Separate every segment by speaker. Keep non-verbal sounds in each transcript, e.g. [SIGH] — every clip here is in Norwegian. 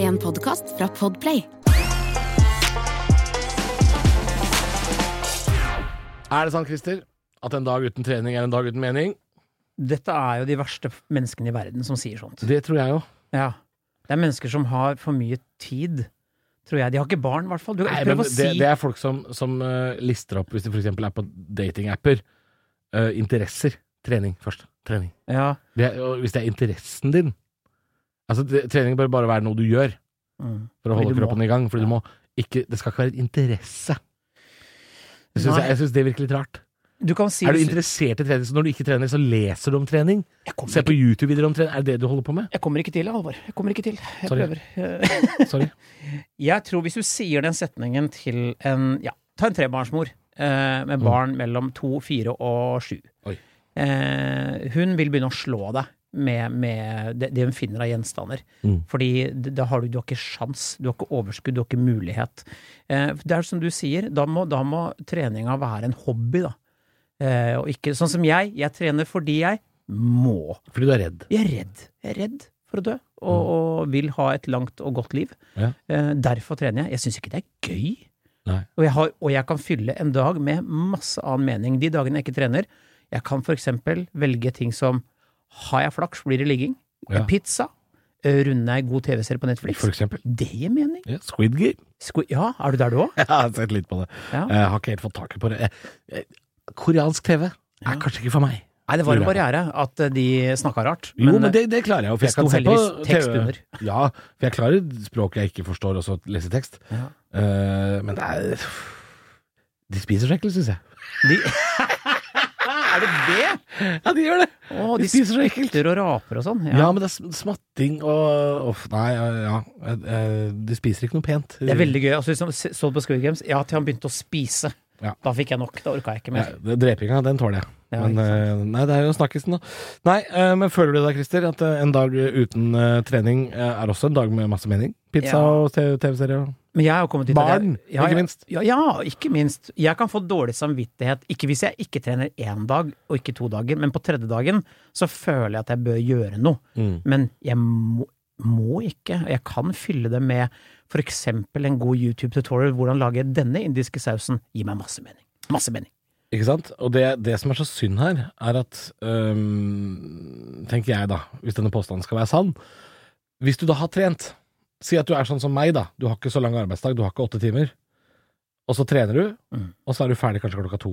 Speaker 1: en podkast fra Podplay.
Speaker 2: Er det sant, Christer, at en dag uten trening er en dag uten mening?
Speaker 3: Dette er jo de verste f- menneskene i verden som sier sånt.
Speaker 2: Det tror jeg òg.
Speaker 3: Ja. Det er mennesker som har for mye tid, tror jeg. De har ikke barn, i hvert fall. Du,
Speaker 2: Nei, men
Speaker 3: prøv å
Speaker 2: det,
Speaker 3: si
Speaker 2: det er folk som, som eh, lister opp, hvis de f.eks. er på datingapper, eh, interesser. Trening først. Trening.
Speaker 3: ja.
Speaker 2: Det er, og hvis det er interessen din Altså, det, trening bør bare være noe du gjør
Speaker 3: mm.
Speaker 2: for å holde
Speaker 3: Fordi du må.
Speaker 2: kroppen i gang, fordi du må ikke Det skal ikke være en interesse. Jeg syns,
Speaker 3: Nei.
Speaker 2: jeg, jeg synes det er virkelig litt rart.
Speaker 3: Du kan si
Speaker 2: Er du interessert i trening, så når du ikke trener, så leser du om trening?
Speaker 3: Jeg kommer,
Speaker 2: Se på
Speaker 3: ikke,
Speaker 2: YouTube-videoer om trening? Er det det du holder på med?
Speaker 3: jeg kommer ikke til, Halvor. Jeg kommer ikke til. Jeg
Speaker 2: Sorry.
Speaker 3: prøver.
Speaker 2: Sorry.
Speaker 3: Jeg tror hvis du sier den setningen til en Ja, ta en trebarnsmor eh, med barn mellom to, fire og sju.
Speaker 2: Mm. Oi.
Speaker 3: Eh, hun vil begynne å slå deg med, med det, det hun finner av gjenstander.
Speaker 2: Mm.
Speaker 3: Fordi d- da har du, du har ikke sjans, du har ikke overskudd, du har ikke mulighet. Eh, det er som du sier, da må, da må treninga være en hobby, da. Eh, og ikke sånn som jeg. Jeg trener fordi jeg må.
Speaker 2: Fordi du er redd.
Speaker 3: Jeg er redd. Jeg er redd for å dø, og, og vil ha et langt og godt liv.
Speaker 2: Mm. Ja.
Speaker 3: Eh, derfor trener jeg. Jeg syns ikke det er gøy.
Speaker 2: Nei.
Speaker 3: Og jeg, har, og jeg kan fylle en dag med masse annen mening. De dagene jeg ikke trener, jeg kan for eksempel velge ting som har jeg flaks, blir det ligging.
Speaker 2: Ja.
Speaker 3: Pizza. eh, Runde ei god TV-serie på Netflix.
Speaker 2: For eksempel.
Speaker 3: Det gir mening.
Speaker 2: Ja, Squid Game.
Speaker 3: Sko ja, er du der du òg?
Speaker 2: [LAUGHS] Jeg har sett litt på det.
Speaker 3: Ja.
Speaker 2: Jeg har ikke helt fått taket på det. Eh, eh, Koreansk TV er kanskje ikke for meg.
Speaker 3: Nei, det var
Speaker 2: Tror
Speaker 3: en
Speaker 2: jeg.
Speaker 3: barriere at eh, de snakka rart. eh,
Speaker 2: Jo, men, eh, det, det klarer jeg jo, for
Speaker 3: det
Speaker 2: jeg kan
Speaker 3: sto
Speaker 2: se på
Speaker 3: heldigvis tekst
Speaker 2: TV.
Speaker 3: under.
Speaker 2: Ja, for jeg klarer språk jeg ikke forstår, og så lese tekst.
Speaker 3: Ja.
Speaker 2: Eh, men det er De spiser seg ekle, syns jeg.
Speaker 3: de [LAUGHS] Er det det?
Speaker 2: Ja, de gjør det!
Speaker 3: Å,
Speaker 2: De
Speaker 3: de
Speaker 2: spiser så ekkelt.
Speaker 3: spytter og raper og sånn.
Speaker 2: Ja. men det er sm- smatting og Uff, nei, ja. ja. Eh, De spiser ikke noe pent.
Speaker 3: Det er veldig gøy. Altså, liksom, se- så på Squid Games, ja, til han begynte å spise.
Speaker 2: Ja.
Speaker 3: Da fikk jeg nok. Da orka jeg ikke
Speaker 2: Ja,
Speaker 3: mer.
Speaker 2: det- Drepinga, den tåler jeg.
Speaker 3: Ja,
Speaker 2: men
Speaker 3: ikke
Speaker 2: eh, nei, det er jo snakkisen, da. Nei, eh, men føler du da, Christer, at eh, en dag uten eh, trening eh, er også en dag med masse mening? Pizza
Speaker 3: Ja.
Speaker 2: og te- TV-serier og
Speaker 3: Men jeg har jo kommet dit at jeg-
Speaker 2: Barn,
Speaker 3: ja,
Speaker 2: ikke
Speaker 3: ja,
Speaker 2: minst.
Speaker 3: Ja, ja, ikke minst. Jeg kan få dårlig samvittighet, ikke hvis jeg ikke trener én dag og ikke to dager, men på tredje dagen så føler jeg at jeg bør gjøre noe. Men jeg må, må ikke. og Jeg kan fylle det med for eksempel en god YouTube-tutorial. Hvordan lager jeg denne indiske sausen? Gi meg masse mening. Masse mening.
Speaker 2: Ikke sant? Og det, det som er så synd her, er at øhm, Tenker jeg, da, hvis denne påstanden skal være sann Hvis du da har trent Si at du er sånn som meg, da. Du har ikke så lang arbeidsdag, du har ikke åtte timer. Og så trener du,
Speaker 3: Mm.
Speaker 2: og så er du ferdig kanskje klokka to.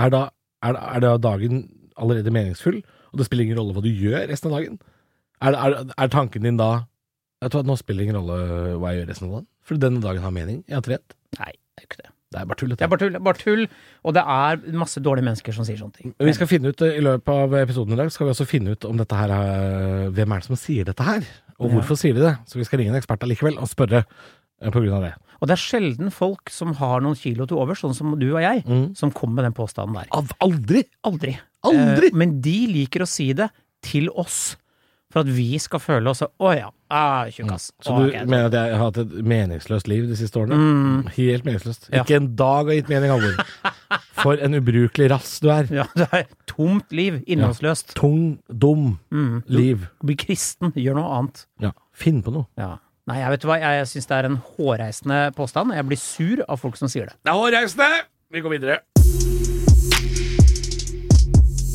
Speaker 2: Er da, er, da- er da dagen allerede meningsfull, og det spiller ingen rolle hva du gjør resten av dagen? Er, er, er tanken din da Jeg tror at nå spiller det ingen rolle hva jeg gjør resten av dagen, for denne dagen har mening. Jeg har trent.
Speaker 3: Nei, det er jo ikke det.
Speaker 2: Det er bare tull.
Speaker 3: Det er bare tull. Bare tull. Og det er masse dårlige mennesker som sier sånne ting.
Speaker 2: Men Vi skal finne ut eh, I løpet av episoden i dag skal vi også finne ut om dette her eh, Hvem er det som sier dette her, og
Speaker 3: Ja.
Speaker 2: hvorfor sier de det? Så vi skal ringe en ekspert allikevel og spørre eh, på grunn av det.
Speaker 3: Og det er sjelden folk som har noen kilo til overs, sånn som du og jeg, som kommer med den påstanden der.
Speaker 2: Av Mm. aldri!
Speaker 3: Aldri.
Speaker 2: Aldri!
Speaker 3: Eh, men de liker å si det til oss, for at vi skal føle oss Å ja, ah, tjukkas.
Speaker 2: Mm. Så
Speaker 3: Å,
Speaker 2: du
Speaker 3: ok.
Speaker 2: mener at jeg har hatt et meningsløst liv de siste årene? Helt meningsløst.
Speaker 3: Mm. Ja.
Speaker 2: Ikke en dag har gitt mening,
Speaker 3: [LAUGHS]
Speaker 2: Halvor. For en ubrukelig rass du er.
Speaker 3: ja, [LAUGHS] det er tomt liv. Innholdsløst.
Speaker 2: Tung, dum
Speaker 3: Mm.
Speaker 2: liv.
Speaker 3: Bli kristen. Gjør noe annet.
Speaker 2: Ja. Finn på noe.
Speaker 3: Ja. Nei, jeg vet du hva, jeg syns det er en hårreisende påstand. Jeg blir sur av folk som sier det.
Speaker 2: Det er hårreisende! Vi går videre.